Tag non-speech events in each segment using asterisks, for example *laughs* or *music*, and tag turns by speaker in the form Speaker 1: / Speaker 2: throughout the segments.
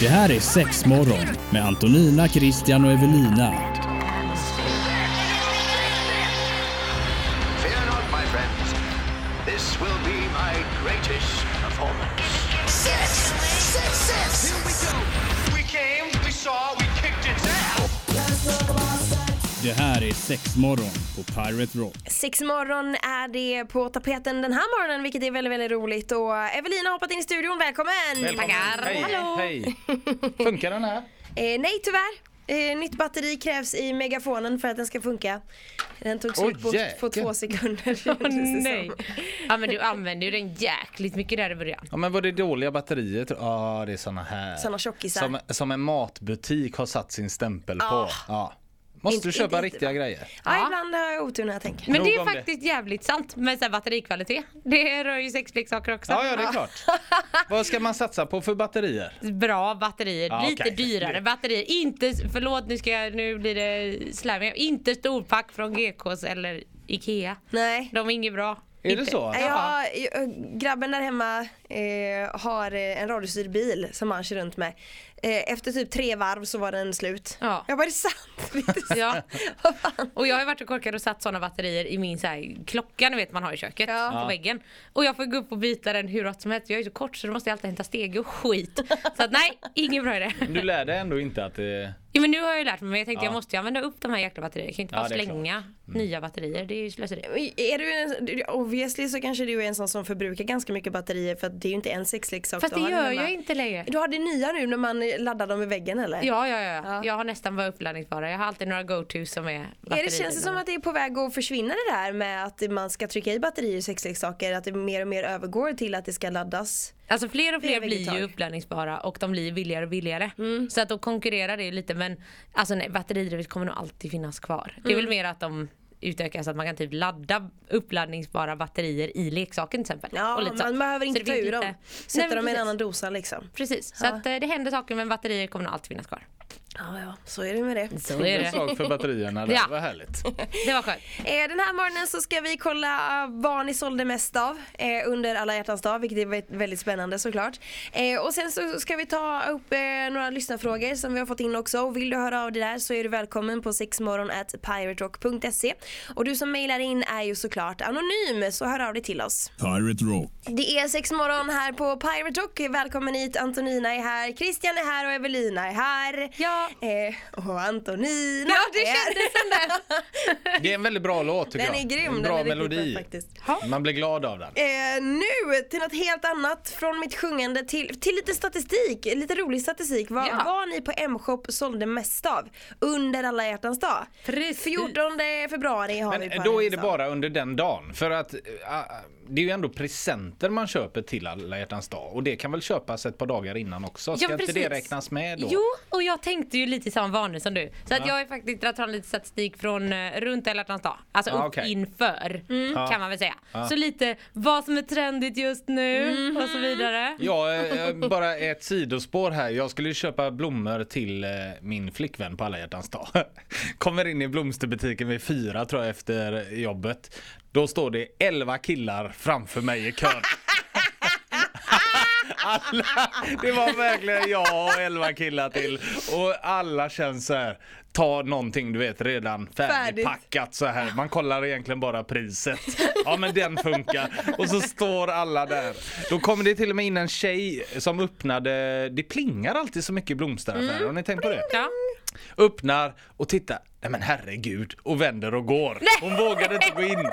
Speaker 1: Det här är Sexmorgon med Antonina, Christian och Evelina.
Speaker 2: Fear not, my friends. This will be my greatest performance.
Speaker 3: Six! Six, six! Here we go!
Speaker 2: We came, we saw, we kicked its ass.
Speaker 1: Det här är Sexmorgon på Pirate Rock.
Speaker 4: Sex morgon är det på tapeten den här morgonen vilket är väldigt, väldigt roligt och Evelina har hoppat in i studion, välkommen! Tackar!
Speaker 5: Hej,
Speaker 4: Hallå!
Speaker 5: hej. Funkar den här?
Speaker 4: Eh, nej tyvärr, eh, nytt batteri krävs i megafonen för att den ska funka. Den tog slut
Speaker 5: Åh,
Speaker 4: på, på
Speaker 5: jäklar.
Speaker 4: två *laughs* sekunder.
Speaker 6: Åh
Speaker 4: kändes det
Speaker 6: nej.
Speaker 4: som.
Speaker 6: Ja men du använde ju den jäkligt mycket där i början.
Speaker 5: Ja men var det dåliga batterier? Ja ah, det är såna här.
Speaker 4: Såna tjockisar. Ah.
Speaker 5: Som, som en matbutik har satt sin stämpel på. Ja. Måste
Speaker 4: Inte-
Speaker 5: du köpa
Speaker 4: inte-
Speaker 5: riktiga grejer?
Speaker 4: Ja,
Speaker 6: Ja.
Speaker 4: ibland har jag otur när jag tänker.
Speaker 6: Men
Speaker 5: Nog
Speaker 6: det är
Speaker 5: om det.
Speaker 6: faktiskt jävligt sant med så här batterikvalitet. Det rör ju sexleksaker också.
Speaker 5: Ja, ja
Speaker 4: Ah.
Speaker 5: det är klart. Vad ska man satsa på för batterier?
Speaker 6: Bra batterier,
Speaker 5: Ja,
Speaker 6: lite
Speaker 5: okej.
Speaker 6: dyrare batterier. Inte, förlåt nu, ska jag, nu blir det slarvigt. Inte storpack från GKs eller IKEA.
Speaker 4: Nej.
Speaker 6: De är inget bra.
Speaker 5: Är
Speaker 6: inte.
Speaker 5: det så?
Speaker 4: Nej, Jag har, jag- eh, grabben där hemma eh, har eh, en radiostyrd bil som han kör runt med. Eh, efter typ tre varv så var den slut.
Speaker 6: Ja.
Speaker 4: Jag bara, är det sant? Det är inte sant. *laughs*
Speaker 6: Ja.
Speaker 4: Vad fan?
Speaker 6: Och jag har ju varit och korkad och satt sådana batterier i min så här, klocka ni vet man har i köket
Speaker 4: Ja.
Speaker 6: på väggen. Och jag får gå upp och byta den hur rätt som helst. Jag är ju så kort så då måste jag alltid hämta steg
Speaker 4: *laughs*
Speaker 6: och skit. Så att nej, ingen bra idé.
Speaker 5: Du lärde ändå inte att det...
Speaker 6: Jo men nu har jag ju lärt mig men jag tänkte
Speaker 5: Ja.
Speaker 6: jag måste ju använda upp de här jäkla batterierna. Jag kan ju inte
Speaker 5: Ja,
Speaker 6: bara
Speaker 5: det är klart. Mm.
Speaker 6: slänga nya batterier. Det är ju slöseri.
Speaker 4: Är du en, du- obviously så kanske du är en sån som förbrukar ganska mycket batterier för att det är ju inte en sexleksak
Speaker 6: Fast
Speaker 4: du
Speaker 6: det
Speaker 4: har
Speaker 6: gör
Speaker 4: hemma.
Speaker 6: jag inte längre.
Speaker 4: Du har det nya nu när man laddar dem i väggen eller?
Speaker 6: Ja, ja, ja.
Speaker 4: Ja.
Speaker 6: Jag har nästan bara uppladdningsbara. Jag har alltid några go-to som är
Speaker 4: Är
Speaker 6: batterier.
Speaker 4: det, känns det som att det är på väg att försvinna det där med att man ska trycka i batterier i sexleksaker? Att det mer och mer övergår till att det ska laddas?
Speaker 6: Alltså fler och
Speaker 4: Det är
Speaker 6: fler blir
Speaker 4: vegetag.
Speaker 6: ju uppladdningsbara och de blir billigare och billigare.
Speaker 4: Mm.
Speaker 6: Så att då konkurrerar det ju lite men alltså nej, batteridrivet kommer nog alltid finnas kvar. Det är
Speaker 4: Mm.
Speaker 6: väl mer att de utökas så att man kan typ ladda uppladdningsbara batterier i leksaken till exempel.
Speaker 4: Ja,
Speaker 6: och lite
Speaker 4: man
Speaker 6: sånt.
Speaker 4: behöver
Speaker 6: Så
Speaker 4: inte
Speaker 6: det
Speaker 4: ta
Speaker 6: finns
Speaker 4: ur
Speaker 6: lite-
Speaker 4: dem.
Speaker 6: Nej,
Speaker 4: Sätta
Speaker 6: men
Speaker 4: dem i en
Speaker 6: precis.
Speaker 4: annan dosa liksom.
Speaker 6: Precis, så
Speaker 4: Ja.
Speaker 6: att eh, det händer saker men batterier kommer nog alltid finnas kvar.
Speaker 4: Ja, ja, så är det med det.
Speaker 6: Så är det.
Speaker 5: slag för batterierna där,
Speaker 6: Ja.
Speaker 5: vad härligt.
Speaker 6: *laughs* Det var skönt.
Speaker 4: Eh, Den här morgonen så ska vi kolla eh, vad ni sålde mest av eh, under alla hjärtans dag, vilket är vä- väldigt spännande såklart. Eh, Och sen så ska vi ta upp eh, några lyssnarfrågor som vi har fått in också. Och vill du höra av dig där så är du välkommen på sexmorgon at piraterock.se. Och du som mejlar in är ju såklart anonym, så hör av dig till oss.
Speaker 1: Pirate Rock.
Speaker 4: Det är sexmorgon här på Pirate Rock. Välkommen hit, Antonina är här, Christian är här och Evelina är här.
Speaker 6: Ja.
Speaker 4: Eh, Och Antonina
Speaker 6: Ja, det
Speaker 4: är här.
Speaker 6: kändes som
Speaker 4: *laughs*
Speaker 6: det.
Speaker 5: Det är en väldigt bra låt tycker
Speaker 4: Den
Speaker 5: jag.
Speaker 4: är grym, den
Speaker 5: En bra
Speaker 4: är riktigt
Speaker 5: melodi.
Speaker 4: bra faktiskt.
Speaker 5: Man blir glad av den.
Speaker 4: Eh, nu till något helt annat från mitt sjungande till, till lite statistik, lite rolig statistik. Vad,
Speaker 6: Ja.
Speaker 4: vad ni på M-shop sålde mest av under alla hjärtans dag.
Speaker 6: Precis.
Speaker 4: 14 februari har vi på
Speaker 5: Men då
Speaker 4: alla
Speaker 5: är det
Speaker 4: hjärtans dag.
Speaker 5: bara under den dagen. För att eh, ah, det är ju ändå presenter man köper till alla hjärtans dag. Och det kan väl köpas ett par dagar innan också. Ska inte det räknas med då?
Speaker 6: Jo, och jag tänkte ju lite i samma banor som du. Så att jag har ju faktiskt dragit fram lite statistik från eh, runt alla hjärtans dag. Alltså
Speaker 5: Ja,
Speaker 6: upp
Speaker 5: okej. Mm.
Speaker 6: inför
Speaker 5: Ja.
Speaker 6: kan man väl säga.
Speaker 5: Ja.
Speaker 6: Så lite vad som är trendigt just nu
Speaker 4: Mm-hmm.
Speaker 6: och så vidare.
Speaker 5: *laughs* Ja, eh, eh, bara ett sidospår här. Jag skulle ju köpa blommor till eh, min flickvän på alla hjärtans dag. *laughs* Kommer in i blomsterbutiken vid fyra tror jag efter jobbet. Då står det elva killar framför mig i kön. *laughs* Alla, det var verkligen jag och elva killar till. Och alla känns så här. Ta någonting du vet redan färdigpackat så här. Man kollar egentligen bara priset. Ja men den funkar. *laughs* Och så står alla där. Då kommer det till och med in en tjej som öppnade. Det plingar alltid så mycket i blomsteraffärer.
Speaker 4: Mm.
Speaker 5: Har ni tänkt på det?
Speaker 6: Ja.
Speaker 5: Öppnar och tittar. Nej men herregud. Och vänder och går. Hon vågade inte
Speaker 4: *laughs*
Speaker 5: gå in.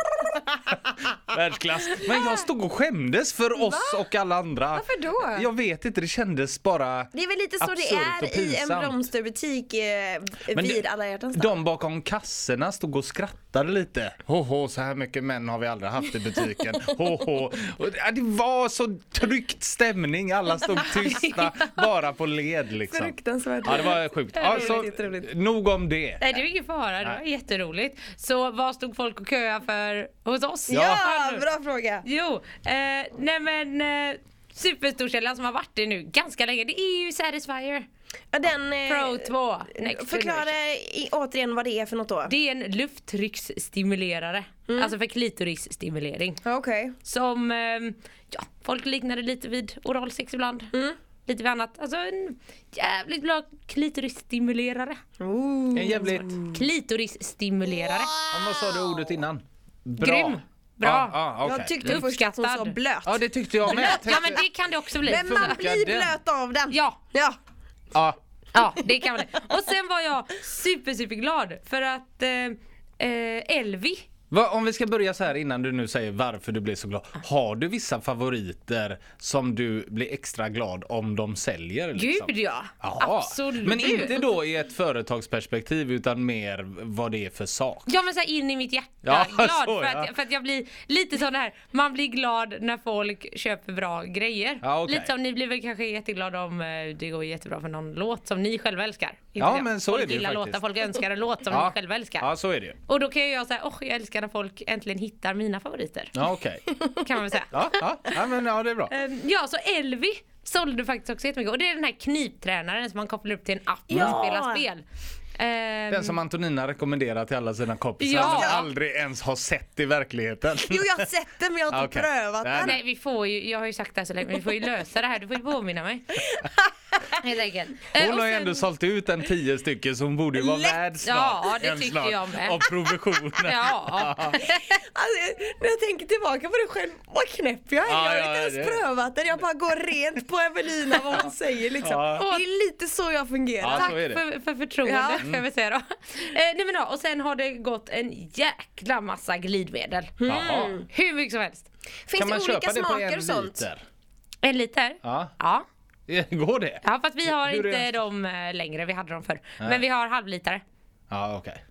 Speaker 5: Världsklass. Men jag stod och skämdes för oss och alla andra.
Speaker 4: Varför då?
Speaker 5: Jag vet inte, det kändes bara
Speaker 4: Det är väl lite så det
Speaker 5: absurt och
Speaker 4: är i en
Speaker 5: pinsamt.
Speaker 4: blomsterbutik eh,
Speaker 5: Men
Speaker 4: vid
Speaker 5: det-
Speaker 4: alla hjärtans dag.
Speaker 5: De bakom kassorna stod och skrattade lite. Hoho, så här mycket män har vi aldrig haft i butiken. Hoho. Och, ja, Det var så tryckt stämning. Alla stod tysta, bara på led liksom.
Speaker 4: Fruktansvärt.
Speaker 5: Ja, det var sjukt. Ja, så,
Speaker 4: Roligt, roligt.
Speaker 5: nog om det.
Speaker 6: Nej det är ju ingen fara, det var jätteroligt. Så vad stod folk och köa för hos oss?
Speaker 4: Ja, bra fråga.
Speaker 6: Jo, eh, nej men eh, superstorkällan som har varit det nu ganska länge. Det är ju Satisfyer
Speaker 4: Ja, Den, eh,
Speaker 6: Pro 2. Next Generation.
Speaker 4: Förklara i, återigen vad det är för något då.
Speaker 6: Det är en lufttrycksstimulerare. Alltså för ehm, klitorisstimulering.
Speaker 4: Ja, Okej.
Speaker 6: Som eh, ja, folk liknar det lite vid oralsex ibland. lite vid annat. Alltså en jävligt bra klitorisstimulerare.
Speaker 4: Ooh.
Speaker 5: En jävligt...
Speaker 6: Klitorisstimulerare.
Speaker 5: Mm. Ja, vad sa du ordet innan? Bra.
Speaker 6: Grym. Bra.
Speaker 5: Ja, ja, okej.
Speaker 4: Jag tyckte först att hon sa
Speaker 6: Uppskattad.
Speaker 4: blöt.
Speaker 5: ja, det tyckte jag med. Jag
Speaker 6: Ja
Speaker 5: tänkte-
Speaker 6: men det kan det också bli.
Speaker 4: Men man
Speaker 5: funkar
Speaker 4: blir
Speaker 5: den?
Speaker 4: blöt av den.
Speaker 6: Ja.
Speaker 4: ja.
Speaker 5: ja.
Speaker 6: Ja, det kan man det. Och sen var jag super, superglad för att eh, eh, Elvi
Speaker 5: Va, om vi ska börja så här innan du nu säger varför du blir så glad.
Speaker 6: Ah.
Speaker 5: Har du vissa favoriter som du blir extra glad om de säljer? Liksom?
Speaker 6: Gud ja!
Speaker 5: Jaha.
Speaker 6: Absolut!
Speaker 5: Men inte då i ett företagsperspektiv utan mer vad det är för sak.
Speaker 6: Ja men så här in i mitt hjärta,
Speaker 5: Ja,
Speaker 6: glad
Speaker 5: *laughs* så,
Speaker 6: för,
Speaker 5: ja.
Speaker 6: att, för att jag blir lite som det här, man blir glad när folk köper bra grejer.
Speaker 5: Ja, okej.
Speaker 6: Lite som ni blir väl kanske jätteglada om eh, det går jättebra för någon låt som ni själva älskar. Inte
Speaker 5: Ja,
Speaker 6: jag.
Speaker 5: men så
Speaker 6: folk
Speaker 5: är det ju
Speaker 6: gillar
Speaker 5: faktiskt.
Speaker 6: låtar, folk önskar en låt som
Speaker 5: Ja.
Speaker 6: de själva älskar.
Speaker 5: Ja, så är det ju.
Speaker 6: Och då kan ju jag säga, åh jag älskar när folk äntligen hittar mina favoriter.
Speaker 5: Ja, okej.
Speaker 6: *laughs* Kan man väl säga.
Speaker 5: Ja, ja, ja, men ja, det är bra.
Speaker 6: Ehm, Ja, så Elvi sålde faktiskt också jättemycket. Och det är den här kniptränaren som man kopplar upp till en app när man spelar spel. Ehm,
Speaker 5: Den som Antonina rekommenderar till alla sina kompisar
Speaker 6: Ja.
Speaker 5: som aldrig ens har sett i verkligheten.
Speaker 4: Jo jag har sett den men jag har inte
Speaker 5: Ah, Okej.
Speaker 4: prövat
Speaker 5: Nej,
Speaker 4: den.
Speaker 6: Nej vi får ju, jag har ju sagt det här så länge, men vi får ju lösa det här. Du får ju påminna mig. *laughs* Helt enkelt. Eh, och
Speaker 5: Hon har ju
Speaker 6: sen-
Speaker 5: ändå sålt ut en tio stycken så hon borde ju vara
Speaker 4: Lätt!
Speaker 5: värd snart.
Speaker 6: Ja, det
Speaker 5: en
Speaker 6: tycker
Speaker 5: snart,
Speaker 6: jag med.
Speaker 5: Av provisionen.
Speaker 6: *laughs*
Speaker 5: *laughs*
Speaker 6: Ja.
Speaker 4: Alltså, när jag tänker tillbaka på det själv, vad knäpp jag är.
Speaker 5: Ah, Ja,
Speaker 4: jag har
Speaker 5: ja,
Speaker 4: inte ens
Speaker 5: det-
Speaker 4: prövat den. Jag bara går rent på Evelina
Speaker 5: *laughs*
Speaker 4: vad hon säger liksom.
Speaker 5: Ja.
Speaker 4: Det är lite så jag fungerar.
Speaker 5: Ja.
Speaker 6: Tack
Speaker 5: så är det.
Speaker 6: för, för förtroendet
Speaker 4: Ja.
Speaker 6: får jag väl säga då. Eh, nej men ja, och sen har det gått en jäkla massa glidmedel.
Speaker 5: Mm. Jaha.
Speaker 6: Hur mycket som helst.
Speaker 4: Finns det olika smaker och sånt?
Speaker 5: liter?
Speaker 6: En liter?
Speaker 5: Ja. *laughs*
Speaker 6: Ja.
Speaker 5: Går det?
Speaker 6: Ja fast vi har
Speaker 5: Hur är
Speaker 6: inte
Speaker 5: det?
Speaker 6: dem eh, längre, vi hade dem förr. Men vi har halvlitare.
Speaker 5: Ja, okej.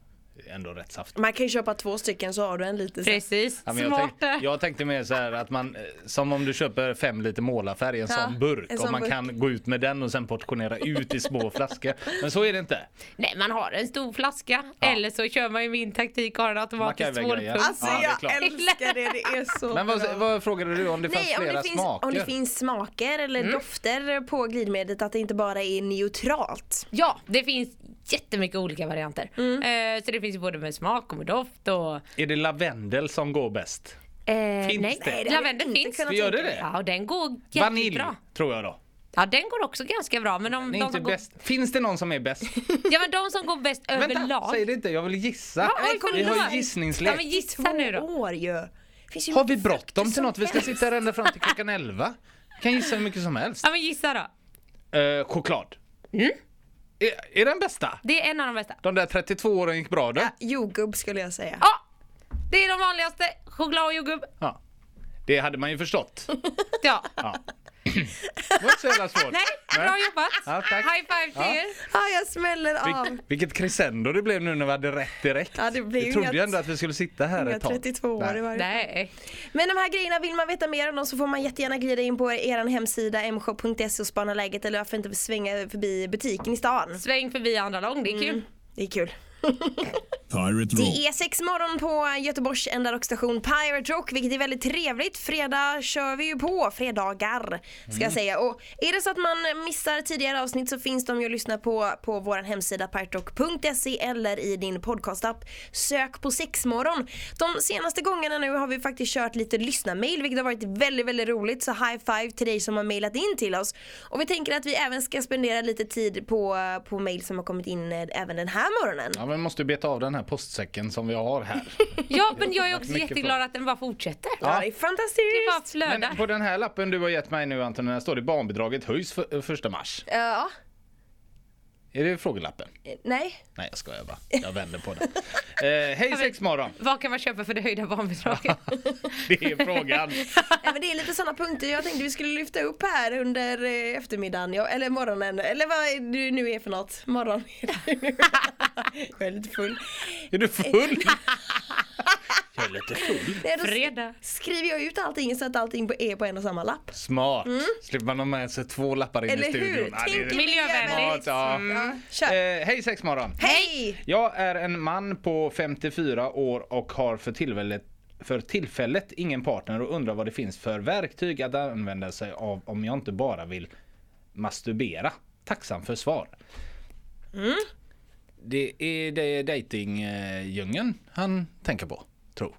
Speaker 5: Det är Ändå rätt saft.
Speaker 4: Man kan ju köpa två stycken så har du en liten. sen.
Speaker 6: Precis,
Speaker 5: Ja, men jag,
Speaker 6: smart.
Speaker 5: tänkte, jag tänkte mer så här att man, eh, som om du köper fem liter målarfärg i en
Speaker 6: Ja,
Speaker 5: sån burk.
Speaker 4: en
Speaker 5: och
Speaker 4: sån
Speaker 5: man
Speaker 4: burk.
Speaker 5: kan gå ut med den och sen portionera ut i små flaskor. Men så är det inte.
Speaker 6: Nej man har en stor flaska eller så kör man ju min taktik och har en automatisk
Speaker 5: MacGyver-grejen.
Speaker 6: tvålpump.
Speaker 4: Alltså
Speaker 5: Ja, det är
Speaker 4: jag
Speaker 5: klart.
Speaker 4: älskar det, det är så
Speaker 5: Men vad,
Speaker 4: bra.
Speaker 5: vad frågade du om det fanns
Speaker 4: Nej, om
Speaker 5: flera
Speaker 4: det, finns,
Speaker 5: smaker? Mm.
Speaker 4: om det finns smaker eller dofter på glidmedlet, att det inte bara är neutralt.
Speaker 6: Ja, det finns jättemycket olika varianter. Eh, så det finns ju både med smak och med doft och...
Speaker 5: Är det lavendel som går bäst?
Speaker 6: Eh,
Speaker 5: Finns det?
Speaker 6: nej,
Speaker 5: Nej,
Speaker 4: det hade
Speaker 6: lavendel
Speaker 4: jag inte
Speaker 6: finns.
Speaker 4: kunnat
Speaker 5: Gör det tänka mig. det?
Speaker 6: Ja, och den går jättebra.
Speaker 5: Vanilj tror jag då.
Speaker 6: Ja, den går också ganska bra. Men de,
Speaker 5: Det är
Speaker 6: de,
Speaker 5: inte
Speaker 6: som, går,
Speaker 5: bäst. Finns det någon som
Speaker 4: *laughs*
Speaker 5: är bäst?
Speaker 6: ja, men de som går bäst
Speaker 5: Vänta,
Speaker 6: överlag...
Speaker 5: säg det inte. Jag vill gissa.
Speaker 6: Ja, oj,
Speaker 5: vi
Speaker 6: förlåt.
Speaker 5: har gissningslek.
Speaker 6: Ja, men gissa nu då.
Speaker 4: Två år ju. Finns ju
Speaker 5: Har vi
Speaker 4: mycket frukter
Speaker 5: bråttom till
Speaker 4: som
Speaker 5: något? Vi ska
Speaker 4: helst.
Speaker 5: sitta här ända fram till klockan 11. Kan gissa hur mycket som helst.
Speaker 6: Ja, men gissa då.
Speaker 5: Eh, choklad.
Speaker 4: Mm.
Speaker 5: Är, är den bästa?
Speaker 6: Det är en av de bästa.
Speaker 5: De där 32 åren gick bra då? Ja.
Speaker 4: *laughs* Jordgubb skulle jag säga.
Speaker 6: Ja, det är de vanligaste. Choklad och jordgubb.
Speaker 5: Det hade man
Speaker 4: *laughs*
Speaker 5: ju förstått.
Speaker 6: Ja.
Speaker 5: Det var inte så jävla svårt.
Speaker 6: Nej, bra jobbat.
Speaker 5: Ja, tack.
Speaker 6: High five till
Speaker 5: Ja.
Speaker 6: er.
Speaker 4: Ja, Ah, jag smäller av.
Speaker 5: Vil- vilket crescendo det blev nu när vi hade rätt direkt.
Speaker 4: Ja, det blev
Speaker 5: vi trodde
Speaker 4: inget-
Speaker 5: ju ändå att vi skulle sitta här
Speaker 4: Jag är
Speaker 5: ett tag.
Speaker 4: 32 år i
Speaker 5: Nej.
Speaker 4: varje
Speaker 6: Nej.
Speaker 4: Men de här grejerna, vill man veta mer om dem så får man jättegärna glida in på er hemsida mshop.se och spana läget eller varför inte svänga förbi butiken i stan.
Speaker 6: Sväng förbi andra lång, det är kul.
Speaker 5: Mm.
Speaker 4: Det är kul. *laughs*
Speaker 1: Pirate Rock.
Speaker 4: Det är sex morgon på Göteborgs enda rockstation Pirate Rock vilket är väldigt trevligt. Fredag kör vi ju på, fredagar ska jag säga. Och är det så att man missar tidigare avsnitt så finns de ju att lyssna på på vår hemsida piraterock.se eller i din podcastapp. Sök på sexmorgon. De senaste gångerna nu har vi faktiskt kört lite lyssnarmail vilket har varit väldigt, väldigt roligt. Så high five till dig som har mailat in till oss. Och vi tänker att vi även ska spendera lite tid på, på mail som har kommit in eh, även den här morgonen.
Speaker 5: Ja, men vi måste ju beta av den här postsäcken som vi
Speaker 4: *laughs*
Speaker 5: har här.
Speaker 6: Ja, men jag är också
Speaker 5: Mycket
Speaker 6: jätteglad att den bara fortsätter.
Speaker 4: Ja, det är fantastiskt.
Speaker 6: Det bara flödar.
Speaker 5: Men på den här lappen du har gett mig nu Antonina står det barnbidraget höjs för, eh, första mars.
Speaker 4: Ja, eh,
Speaker 5: Är det frågelappen?
Speaker 4: nej.
Speaker 5: Nej jag skojar bara, jag vänder
Speaker 4: *laughs*
Speaker 5: på den. Eh, hej sexmorgon!
Speaker 6: Vad kan man köpa för det höjda *laughs* barnbidraget?
Speaker 5: Det är frågan.
Speaker 4: Ja, men det är lite sådana punkter jag tänkte vi skulle lyfta upp här under eh, eftermiddagen, ja, eller morgonen, eller vad är du nu är för något. Morgon är det nu. Jag är lite full.
Speaker 5: Är du full? Jag är lite full.
Speaker 4: Nej, då s-
Speaker 6: Fredag.
Speaker 4: skriver jag ut allting så att allting är på en och samma lapp.
Speaker 5: Smart! Slipper man ha med sig två lappar in i
Speaker 4: Mm. Eller
Speaker 5: studion.
Speaker 4: hur?
Speaker 5: Ja, det är
Speaker 4: Tänk
Speaker 5: rätt smart,
Speaker 4: miljövänligt.
Speaker 6: miljövänligt.
Speaker 5: ja.
Speaker 4: Ja, kör.
Speaker 5: Eh, hej sexmorgon!
Speaker 4: Hej!
Speaker 5: Jag är en man på 54 år och har för tillfället för tillfället ingen partner och undrar vad det finns för verktyg att använda sig av om jag inte bara vill masturbera. Tacksam för svar.
Speaker 4: Mm.
Speaker 5: Det är det är datingdjungeln han tänker på, tror.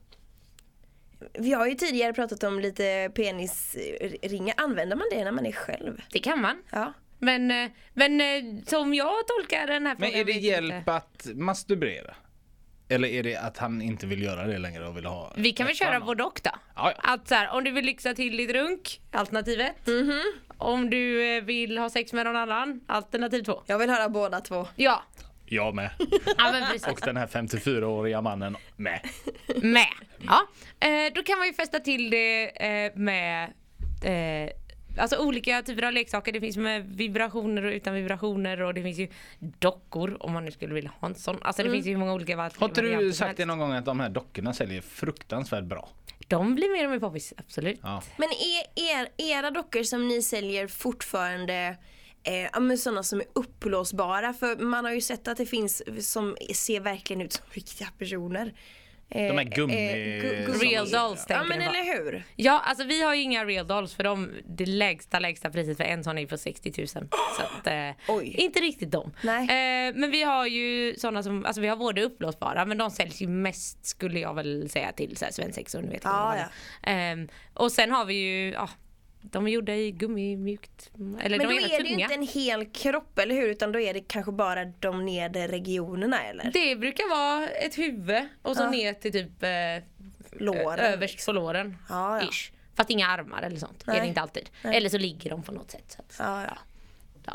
Speaker 4: Vi har ju tidigare pratat om lite penisringar. Använder man det när man är själv?
Speaker 6: Det kan man.
Speaker 4: Ja.
Speaker 6: Men, eh, men eh, som jag tolkar den här
Speaker 5: Men
Speaker 6: frågan
Speaker 5: är det
Speaker 6: vet jag inte.
Speaker 5: hjälp att masturbera? Eller är det att han inte vill göra det längre och vill ha...
Speaker 6: Vi kan väl köra både och då?
Speaker 5: Ja, ja.
Speaker 6: Att så här, om du vill lyxa till ditt runk, alternativet. Om du eh, vill ha sex med någon annan, alternativ två.
Speaker 4: Jag vill höra båda två.
Speaker 6: Ja,
Speaker 5: Jag
Speaker 6: *laughs*
Speaker 5: med.
Speaker 6: ja men precis.
Speaker 5: Och den här 54-åriga mannen med.
Speaker 6: med. Ja. Eh, då kan man ju fästa till det eh, med eh, Alltså olika typer av leksaker. Det finns med vibrationer och utan vibrationer och det finns ju dockor om man nu skulle vilja ha en sån. Alltså det finns ju hur många olika val-
Speaker 5: Mm. Har inte du
Speaker 6: varianter som
Speaker 5: sagt det
Speaker 6: helst.
Speaker 5: någon gång att de här dockorna säljer fruktansvärt bra?
Speaker 6: De blir mer och mer poppis, absolut.
Speaker 5: Ja.
Speaker 4: Men är er, era dockor som ni säljer fortfarande eh, ja, men sådana som är uppblåsbara? För man har ju sett att det finns som ser verkligen ut som *laughs* riktiga personer. Eh,
Speaker 5: De här gummi-
Speaker 6: Real dolls
Speaker 4: Ja
Speaker 6: tänker
Speaker 4: men
Speaker 6: du på.
Speaker 4: eller hur?
Speaker 6: Ja, alltså vi har ju inga real dolls för de, det lägsta lägsta priset för en sån är på 60 000. Så att, eh,
Speaker 4: Oj.
Speaker 6: inte riktigt dem.
Speaker 4: Nej.
Speaker 6: Eh, men vi har ju såna som, alltså vi har både uppblåsbara men de säljs ju mest skulle jag väl säga till så här svensexor, ni vet.
Speaker 4: Ja,
Speaker 6: vad de har. Ehm, och sen har vi ju, ja, de är gjorda i gummimjukt, eller
Speaker 4: Men
Speaker 6: de
Speaker 4: då
Speaker 6: är,
Speaker 4: är det ju
Speaker 6: tunga.
Speaker 4: inte en hel kropp eller hur? Utan då är det kanske bara de nedre regionerna eller?
Speaker 6: Det brukar vara ett huvud och så ner till typ eh,
Speaker 4: Låren.
Speaker 6: Ö- Överst på låren.
Speaker 4: Ja, ja.
Speaker 6: Ish. Fast inga armar eller sånt. Det är det
Speaker 4: Nej.
Speaker 6: inte alltid. Eller så ligger de på något sätt. Så att,
Speaker 4: Ja, ja.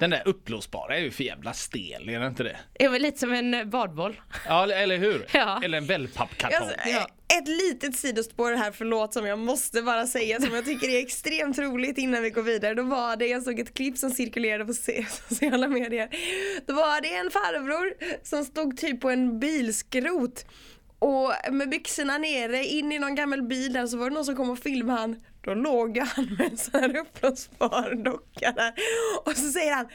Speaker 5: Den där uppblåsbara är ju för jävla stel, är det inte det?
Speaker 6: Det är väl lite som en eh, badboll.
Speaker 5: Ja, eller- eller hur?
Speaker 6: *laughs* Ja.
Speaker 5: Eller en wellpappkartong.
Speaker 4: Alltså,
Speaker 6: Ja.
Speaker 4: Ett litet sidospår här, förlåt som jag måste bara säga som jag tycker är extremt roligt innan vi går vidare. Då var det, jag såg ett klipp som cirkulerade på se- *laughs* sociala medier. Då var det en farbror som stod typ på en bilskrot och med byxorna nere in i någon gammal bil där så var det någon som kom och filmade han. Då låg ju han med en sån här uppblåsbar docka där och så säger han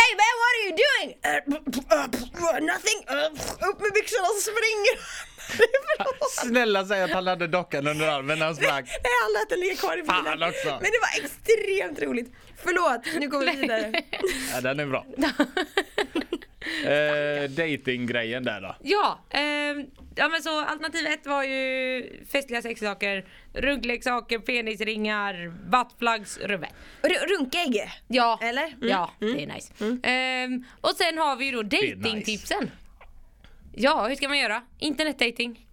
Speaker 4: Hey man, what are you doing? "Eh, p- p- eh, p- nothing. Eh, upp med byxorna och så springer han därifrån.
Speaker 5: *laughs* Snälla säg att han hade dockan under armen när han sprang.
Speaker 4: *laughs* Nej, han lät den ligga kvar i bilen.
Speaker 5: Fan också.
Speaker 4: Men det var extremt roligt. Förlåt, nu
Speaker 6: *laughs*
Speaker 4: går vi vidare.
Speaker 5: Ja, den är bra. eh, Dating-grejen där då.
Speaker 6: Ja, ehm, ja men så alternativ ett var ju festliga sexsaker, runkleksaker, penisringar, buttplugs, rubbet.
Speaker 4: R- runkägg.
Speaker 6: Ja,
Speaker 4: Eller? Mm.
Speaker 6: ja det är nice. Ehm, och sen har vi ju då
Speaker 5: är nice.
Speaker 6: datingtipsen. Ja, hur ska man göra? Internetdating.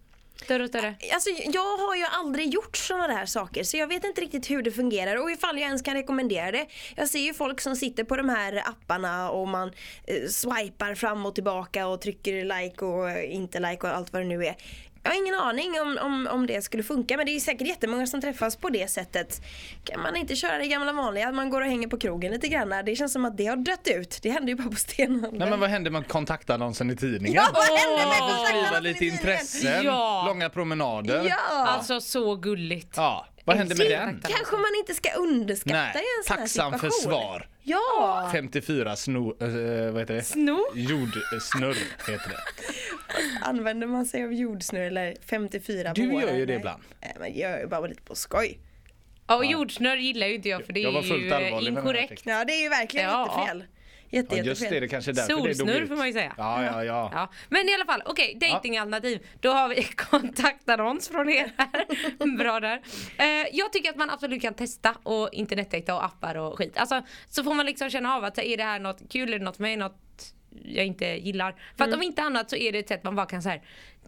Speaker 6: Större och större.
Speaker 4: Alltså, jag har ju aldrig gjort sådana där saker så jag vet inte riktigt hur det fungerar och ifall jag ens kan rekommendera det. Jag ser ju folk som sitter på de här apparna och man eh, swipar fram och tillbaka och trycker like och eh, inte like och allt vad det nu är. Jag har ingen aning om, om, om det skulle funka men det är ju säkert jättemånga som träffas på det sättet. Kan man inte köra det gamla vanliga att man går och hänger på krogen lite grann? Det känns som att det har dött ut. Det hände ju bara på stenåldern.
Speaker 5: Nej men vad hände med kontaktannonsen i tidningen?
Speaker 4: Ja, vad hände med
Speaker 6: Åh,
Speaker 5: Skriva
Speaker 4: kontaktannonsen i
Speaker 5: lite
Speaker 4: tidningen?
Speaker 5: intressen,
Speaker 6: Ja.
Speaker 5: långa promenader.
Speaker 4: Ja!
Speaker 6: Alltså så gulligt.
Speaker 5: Ja, Vad hände med
Speaker 4: Du,
Speaker 5: den?
Speaker 4: Kanske man inte ska underskatta
Speaker 5: Mm. Nej,
Speaker 4: i en sån här situation.
Speaker 5: tacksam för svar.
Speaker 4: Ja,
Speaker 5: 54 sno... eh, vad heter det?
Speaker 6: Sno.
Speaker 5: Jordsnurr heter det.
Speaker 4: använder man sig av jordsnurr eller 54
Speaker 5: Du
Speaker 4: bårar?
Speaker 5: gör ju det
Speaker 4: Nej.
Speaker 5: ibland.
Speaker 4: Nej, men jag gör ju bara lite på skoj.
Speaker 6: Ja, och jordsnurr gillar ju inte jag för det
Speaker 5: Jag var
Speaker 6: är
Speaker 5: fullt
Speaker 6: ju eh,
Speaker 5: allvarlig med den här
Speaker 6: inkorrekt.
Speaker 5: artikeln.
Speaker 4: Ja, det är ju verkligen
Speaker 6: Ja.
Speaker 4: jättefel. Jätte,
Speaker 5: Ja, just det,
Speaker 4: jättefel.
Speaker 5: det kanske är därför det dog
Speaker 6: Solsnurr
Speaker 5: ut.
Speaker 6: får man ju säga.
Speaker 5: Ja, ja, ja.
Speaker 6: Ja. Men i alla fall, okej, datingalternativ. Då har vi *laughs* kontaktannons från er här. *laughs* Bra där. Eh, jag tycker att man absolut kan testa och internetdejta och appar och skit. Alltså, så får man liksom känna av att så, är det här något kul, är det något för mig, något jag inte gillar. För
Speaker 5: Mm.
Speaker 6: att om inte annat så är det ett sätt man bara kan så här.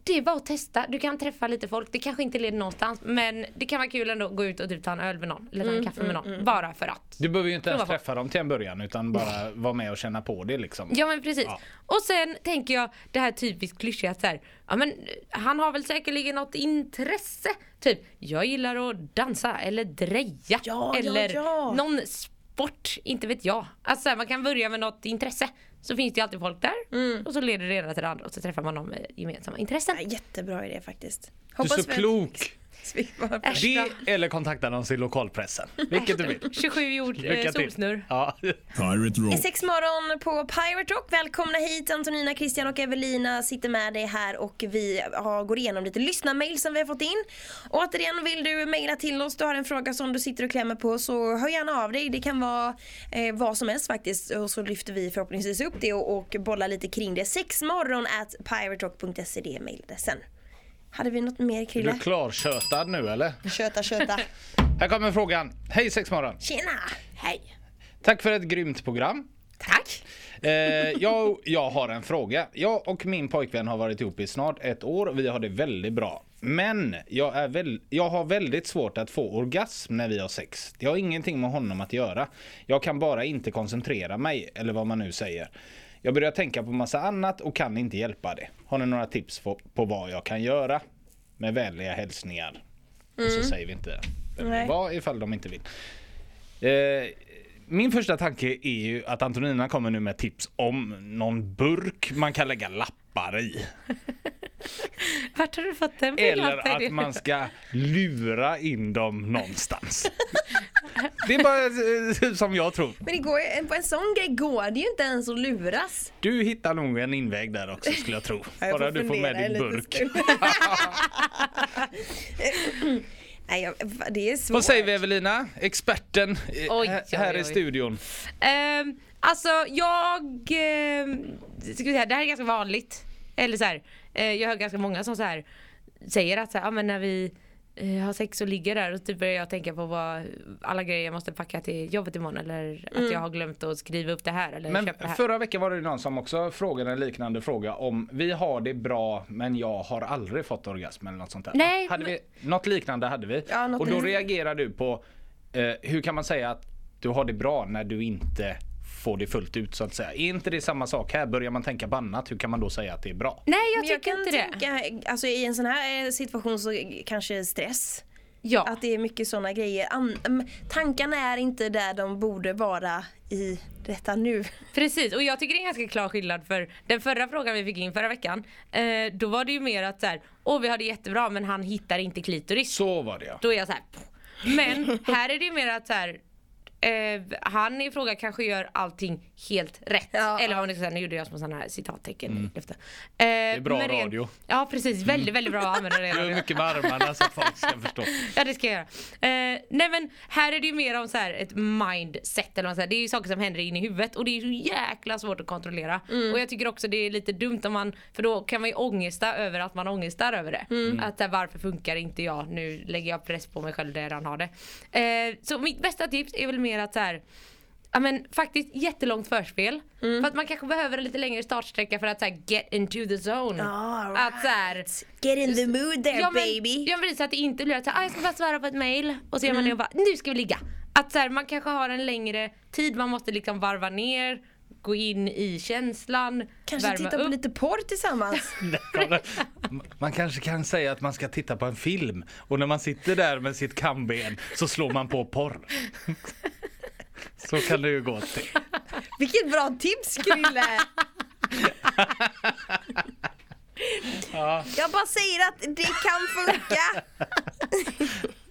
Speaker 6: Det är bara att testa, du kan träffa lite folk, det kanske inte leder någonstans men det kan vara kul ändå att gå ut och typ ta en öl med någon eller ta en kaffe med någon. Bara för att.
Speaker 5: Mm, Du behöver ju inte ens
Speaker 6: Prova på.
Speaker 5: träffa dem till en början utan bara vara med och känna på det liksom.
Speaker 6: Ja men precis.
Speaker 5: Ja.
Speaker 6: Och sen tänker jag det här typiskt klyschiga att så här, ja men eh, han har väl säkerligen något intresse. Typ, jag gillar att dansa eller dreja.
Speaker 4: Ja,
Speaker 6: eller
Speaker 4: ja, ja.
Speaker 6: någon sport, inte vet jag. Alltså så här, man kan börja med något intresse. Så finns det ju alltid folk där
Speaker 5: Mm.
Speaker 6: och så leder det ena till det andra och så träffar man dem med gemensamma intressen.
Speaker 4: Ja, jättebra idé faktiskt.
Speaker 5: Du är så
Speaker 4: vi-
Speaker 5: klok!
Speaker 4: vi var-
Speaker 6: Äsch då.
Speaker 5: Det eller kontaktannons i lokalpressen.
Speaker 4: *laughs*
Speaker 5: Vilket du vill.
Speaker 6: 27 jord, eh,
Speaker 5: Lycka till.
Speaker 6: solsnurr.
Speaker 5: Ja.
Speaker 1: Pirate
Speaker 4: I
Speaker 1: Rock.
Speaker 4: sex morgon på Pirate Rock. Välkomna hit Antonina, Christian och Evelina sitter med dig här och vi har, går igenom lite lyssnarmail som vi har fått in. Och återigen, vill du mejla till oss, du har en fråga som du sitter och klämmer på så hör gärna av dig. Det kan vara eh, vad som helst faktiskt och så lyfter vi förhoppningsvis upp det och, och bollar lite kring det. Sexmorgon at piraterock.se det är mejladressen. Hade vi något mer
Speaker 5: Är du
Speaker 4: Krille?
Speaker 5: klartjötad nu eller?
Speaker 4: Köta, köta.
Speaker 5: Här kommer frågan. Hej Sexmorgon!
Speaker 4: *laughs* Tjena! Hej!
Speaker 5: Tack för ett grymt program.
Speaker 4: Tack!
Speaker 5: Eh, jag, jag har en fråga. Jag och min pojkvän har varit ihop i snart ett år. Vi har det väldigt bra. Men jag, är väl, jag har väldigt svårt att få orgasm när vi har sex. Det har ingenting med honom att göra. Jag kan bara inte koncentrera mig, eller vad man nu säger. Jag börjar tänka på massa annat och kan inte hjälpa det. Har ni några tips på, på vad jag kan göra? Med vänliga hälsningar. Och så säger vi inte vem det
Speaker 4: Nej.
Speaker 5: var ifall de inte vill. Eh, min första tanke är ju att Antonina kommer nu med tips om någon burk man kan lägga lappar i.
Speaker 6: Vart har du fått den
Speaker 5: Eller
Speaker 6: lappen?
Speaker 5: att man ska lura in dem någonstans. Det är bara eh, som jag tror.
Speaker 4: Men det går, ju- på en sån grej går det ju inte ens att luras.
Speaker 5: Du hittar nog en inväg där också skulle jag tro.
Speaker 4: Ja, jag
Speaker 5: Bara du får med
Speaker 4: fundera en
Speaker 5: din
Speaker 4: liten
Speaker 5: burk.
Speaker 4: stund. *laughs* Nej, jag, det är svårt.
Speaker 5: Vad säger vi Evelina? Experten eh,
Speaker 6: Oj,
Speaker 5: här-
Speaker 6: oj,
Speaker 5: här i
Speaker 6: oj.
Speaker 5: studion.
Speaker 6: Ehm, alltså jag... ehm, ska vi säga, det här är ganska vanligt. Eller så här, eh, jag hör ganska många som så här, säger att så här, ah, men när vi eh, har sex och ligger där och typ börjar jag tänka på vad, alla grejer jag måste packa till jobbet imorgon eller att jag har glömt att skriva upp det här eller
Speaker 5: Men
Speaker 6: köpa det här.
Speaker 5: förra veckan var det någon som också frågade en liknande fråga om vi har det bra men jag har aldrig fått orgasm eller något sånt där.
Speaker 6: Nej,
Speaker 5: hade vi, något liknande hade vi.
Speaker 4: Ja, något
Speaker 5: och då
Speaker 4: liknande.
Speaker 5: reagerar du på eh, hur kan man säga att du har det bra när du inte får det fullt ut så att säga. Är inte det samma sak här? Börjar man tänka på annat, hur kan man då säga att det är bra?
Speaker 6: Nej jag
Speaker 4: Men jag
Speaker 6: tycker
Speaker 4: kan
Speaker 6: inte det.
Speaker 4: tänka, alltså i en sån här eh, situation så kanske stress.
Speaker 6: Ja.
Speaker 4: Att det är mycket såna grejer. An- mm, tankarna är inte där de borde vara i detta nu. *laughs*
Speaker 6: Precis, och jag tycker det är en ganska klar skillnad för den förra frågan vi fick in förra veckan, eh, då var det ju mer att så här, åh vi har det jättebra men han hittar inte klitoris.
Speaker 5: Så var det ja.
Speaker 6: Då är jag så här. pff. Men här är det ju mer att så här, eh, han i fråga kanske gör allting helt rätt.
Speaker 4: Ja.
Speaker 6: Eller vad man ska säga, nu gjorde jag små sådana här citattecken. i luften. Eh, det är
Speaker 5: bra radio.
Speaker 6: Ja precis, väldigt väldigt bra att använda det. i
Speaker 5: Gör
Speaker 6: radio.
Speaker 5: mycket med armarna så att folk ska förstå.
Speaker 6: *laughs* Ja det ska jag göra. Eh, nej men här är det ju mer om så här ett mindset eller vad man säger. Det är ju saker som händer in i huvudet och det är ju så jäkla svårt att kontrollera. Och jag tycker också det är lite dumt om man, för då kan man ju ångesta över att man ångestar över det. Att så här, varför funkar inte jag? Nu lägger jag press på mig själv där jag redan har det. Eh, så mitt bästa tips är väl mer att så här Ja men faktiskt jättelångt förspel. För att man kanske behöver en lite längre startsträcka för att så här, get into the zone.
Speaker 4: Ah,
Speaker 6: Att så här,
Speaker 4: Get in the mood there
Speaker 6: ja, men,
Speaker 4: baby. Mm.
Speaker 6: Ja men precis, att det inte blir att så här, ah, jag ska bara svara på ett mail och så gör man det och bara nu ska vi ligga. Att så här, man kanske har en längre tid, man måste liksom varva ner, gå in i känslan,
Speaker 4: Kanske
Speaker 6: värma
Speaker 4: titta på
Speaker 6: upp.
Speaker 4: lite porr
Speaker 6: *laughs*
Speaker 4: tillsammans.
Speaker 5: Man kanske kan säga att man ska titta på en film och när man sitter där med sitt kamben så slår man på porr. Så kan det ju gå till.
Speaker 4: Vilket bra tips
Speaker 6: *laughs*
Speaker 4: Krille! Jag bara säger att det kan
Speaker 6: *laughs*
Speaker 4: funka.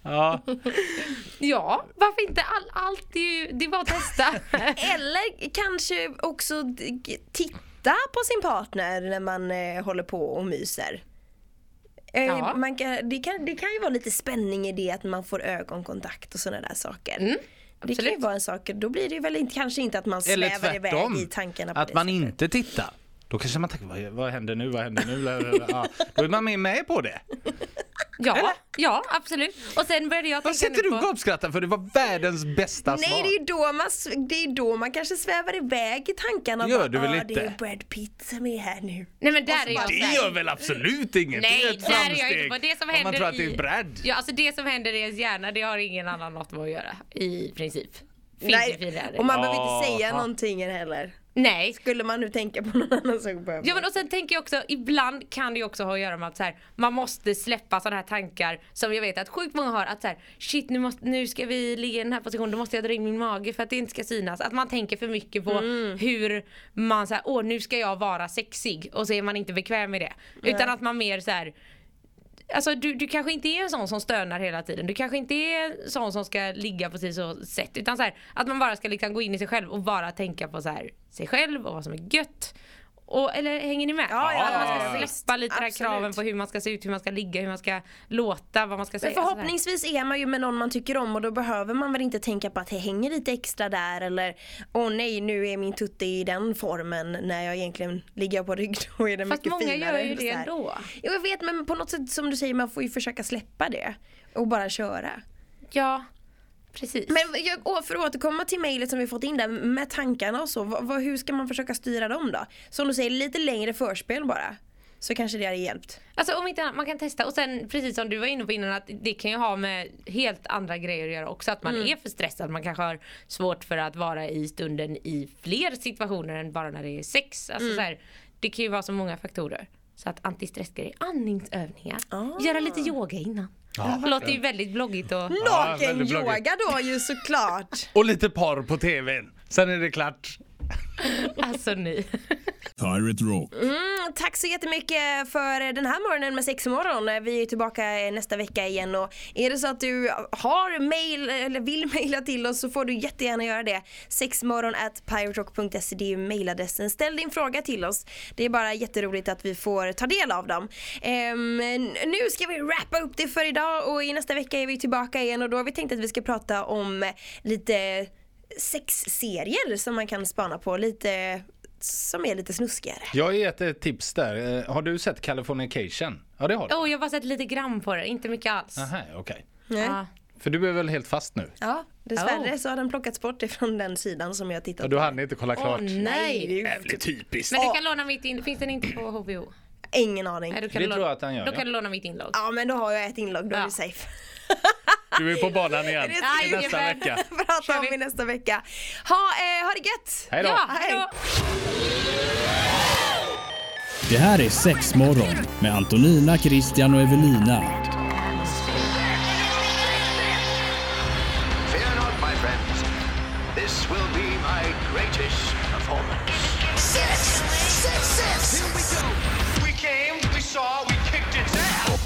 Speaker 5: Ja,
Speaker 6: Ja, varför inte? All, allt är ju, det är bara
Speaker 4: *laughs*
Speaker 6: att testa.
Speaker 4: Eller kanske också d- titta på sin partner när man eh, håller på och myser. Eh,
Speaker 6: Ja.
Speaker 4: Man kan, det, kan, det kan ju vara lite spänning i det att man får ögonkontakt och sådana där saker.
Speaker 5: Mm,
Speaker 4: det kan ju
Speaker 6: absolut.
Speaker 4: vara en sak, då blir det väl inte, kanske inte att man
Speaker 5: eller
Speaker 4: svävar iväg i
Speaker 5: tvärtom.
Speaker 4: tankarna på
Speaker 5: Att
Speaker 4: det
Speaker 5: man
Speaker 4: sättet.
Speaker 5: inte tittar. Då kanske man tänker, vad, vad händer nu, vad händer nu? Ja, då är man med- med på det.
Speaker 6: Ja, ja absolut. Och sen började jag
Speaker 5: Vad
Speaker 6: tänka
Speaker 5: sitter
Speaker 6: nu
Speaker 5: du och
Speaker 6: på...
Speaker 5: gapskrattar för? Det var världens bästa
Speaker 4: Nej
Speaker 5: svar.
Speaker 4: det är ju då man, s- det är då man kanske svävar iväg i tankarna och
Speaker 5: Gör du väl
Speaker 4: "Ah,
Speaker 5: inte?"
Speaker 4: det är Brad Pitt som är här nu.
Speaker 6: Nej men där är jag
Speaker 5: Det
Speaker 6: så här-
Speaker 5: gör väl absolut inget?
Speaker 6: Nej,
Speaker 5: det är ett
Speaker 6: där är jag inte på.
Speaker 5: framsteg.
Speaker 6: Det som
Speaker 5: Om
Speaker 6: händer
Speaker 5: man tror att det
Speaker 6: i-
Speaker 5: är Brad.
Speaker 6: Ja, alltså det som händer i ens hjärna det har ingen annan något med att göra i princip. Finns det fin
Speaker 4: Nej,
Speaker 6: lärdom.
Speaker 4: och man behöver inte säga
Speaker 5: Aha.
Speaker 4: någonting heller.
Speaker 6: Nej.
Speaker 4: Skulle man nu tänka på någon annan sak behöver
Speaker 6: Ja men och sen tänker jag också, ibland kan det ju också ha att göra med att så här, man måste släppa sådana här tankar som jag vet att sjukt många har att så här, shit nu, måste, nu ska vi ligga i den här positionen, då måste jag dra in min mage för att det inte ska synas. Att man tänker för mycket på hur man så här, åh nu ska jag vara sexig och så är man inte bekväm med det. Utan att man mer så här, Alltså du, du kanske inte är en sån som stönar hela tiden. Du kanske inte är en sån som ska ligga på precis så sätt. Utan så här, att man bara ska liksom gå in i sig själv och bara tänka på så här, sig själv och vad som är gött. Och, eller hänger ni med?
Speaker 4: Ja, ja,
Speaker 6: att man
Speaker 5: ja,
Speaker 6: ska
Speaker 5: ja.
Speaker 6: släppa lite de här
Speaker 4: Absolut.
Speaker 6: kraven på hur man ska se ut, hur man ska ligga, hur man ska låta, vad man ska säga.
Speaker 4: Men
Speaker 6: och sådär.
Speaker 4: förhoppningsvis är man ju med någon man tycker om och då behöver man väl inte tänka på att det hänger lite extra där eller åh nej nu är min tutte i den formen när jag egentligen ligger på rygg *laughs* då är den
Speaker 6: Fast
Speaker 4: mycket
Speaker 6: många
Speaker 4: finare.
Speaker 6: gör ju
Speaker 4: och så
Speaker 6: det
Speaker 4: här.
Speaker 6: ändå.
Speaker 4: Jo jag vet men på något sätt som du säger man får ju försöka släppa det och bara köra.
Speaker 6: Ja, precis.
Speaker 4: Men jag, å- för att återkomma till mejlet som vi fått in där med tankarna och så. Vad, vad, hur ska man försöka styra dem då? Som du säger lite längre förspel bara. Så kanske det hade hjälpt.
Speaker 6: Alltså om inte annat, man kan testa och sen precis som du var inne på innan att det kan ju ha med helt andra grejer att göra också. Att man
Speaker 4: Mm.
Speaker 6: är för stressad, man kanske har svårt för att vara i stunden i fler situationer än bara när det är sex.
Speaker 4: Mm.
Speaker 6: Alltså, så här, det kan ju vara så många faktorer. Så att antistressgrejer, andningsövningar,
Speaker 4: Ah.
Speaker 6: göra lite yoga innan. Det låter ju väldigt
Speaker 4: *laughs*
Speaker 6: bloggigt och
Speaker 5: Ja, väldigt
Speaker 4: Naken-yoga
Speaker 5: bloggigt.
Speaker 4: då ju
Speaker 5: *laughs*
Speaker 4: såklart.
Speaker 5: Och lite porr på tvn. Sen är det klart.
Speaker 6: alltså ni.
Speaker 1: Pirate Rock.
Speaker 4: Tack så jättemycket för den här morgonen med Sexmorgon. Vi är tillbaka eh, nästa vecka igen och är det så att du har mail eller vill mejla till oss så får du jättegärna göra det. Sexmorgon at piraterock.se det är ju mejladressen. Ställ din fråga till oss. Det är bara jätteroligt att vi får ta del av dem. Ehm, nu ska vi wrappa upp det för idag och i nästa vecka är vi tillbaka igen och då har vi tänkt att vi ska prata om eh, lite sexserier som man kan spana på. Lite som är lite snuskigare.
Speaker 5: Jag har gett ett tips där. Eh, Har du sett Californication? Ja det har du.
Speaker 6: Oh, jag har bara sett lite grann på det, inte mycket alls. Ah.
Speaker 5: Aha, okej.
Speaker 4: Nej.
Speaker 6: Ja.
Speaker 5: För du är väl helt fast nu?
Speaker 4: Ja, dessvärre
Speaker 6: Oh.
Speaker 4: så har den plockats bort ifrån den sidan som jag tittat
Speaker 5: Ja,
Speaker 4: på.
Speaker 5: du hann inte kolla
Speaker 6: Åh
Speaker 5: klart.
Speaker 6: nej!
Speaker 4: det är ju-
Speaker 5: Jävligt typiskt.
Speaker 6: Men du kan låna mitt inlogg, finns den inte på HBO?
Speaker 4: Ingen aning.
Speaker 6: Nej, då kan
Speaker 5: Det
Speaker 6: du
Speaker 5: tror
Speaker 6: låna-
Speaker 5: jag att den gör,
Speaker 6: Då
Speaker 5: ja.
Speaker 6: kan du låna mitt inlogg.
Speaker 4: Ja men då har jag ett inlogg, då är
Speaker 6: Ja.
Speaker 4: vi safe. *laughs*
Speaker 5: Du är på banan igen.
Speaker 4: Det
Speaker 6: Nej,
Speaker 5: Till nästa
Speaker 6: ungefär.
Speaker 5: vecka.
Speaker 4: Prata
Speaker 6: Kör
Speaker 4: om
Speaker 6: vi.
Speaker 4: i nästa vecka. Ha, eh, ha det gött!
Speaker 5: Hej då.
Speaker 6: Ja, hej
Speaker 4: Hej.
Speaker 6: då!
Speaker 1: Det här är Sexmorgon med Antonina, Christian och Evelina.
Speaker 2: Fear not, my friends. This will be my greatest performance.
Speaker 3: Six, six, six. Here we go.
Speaker 2: We came, we saw, we kicked its ass.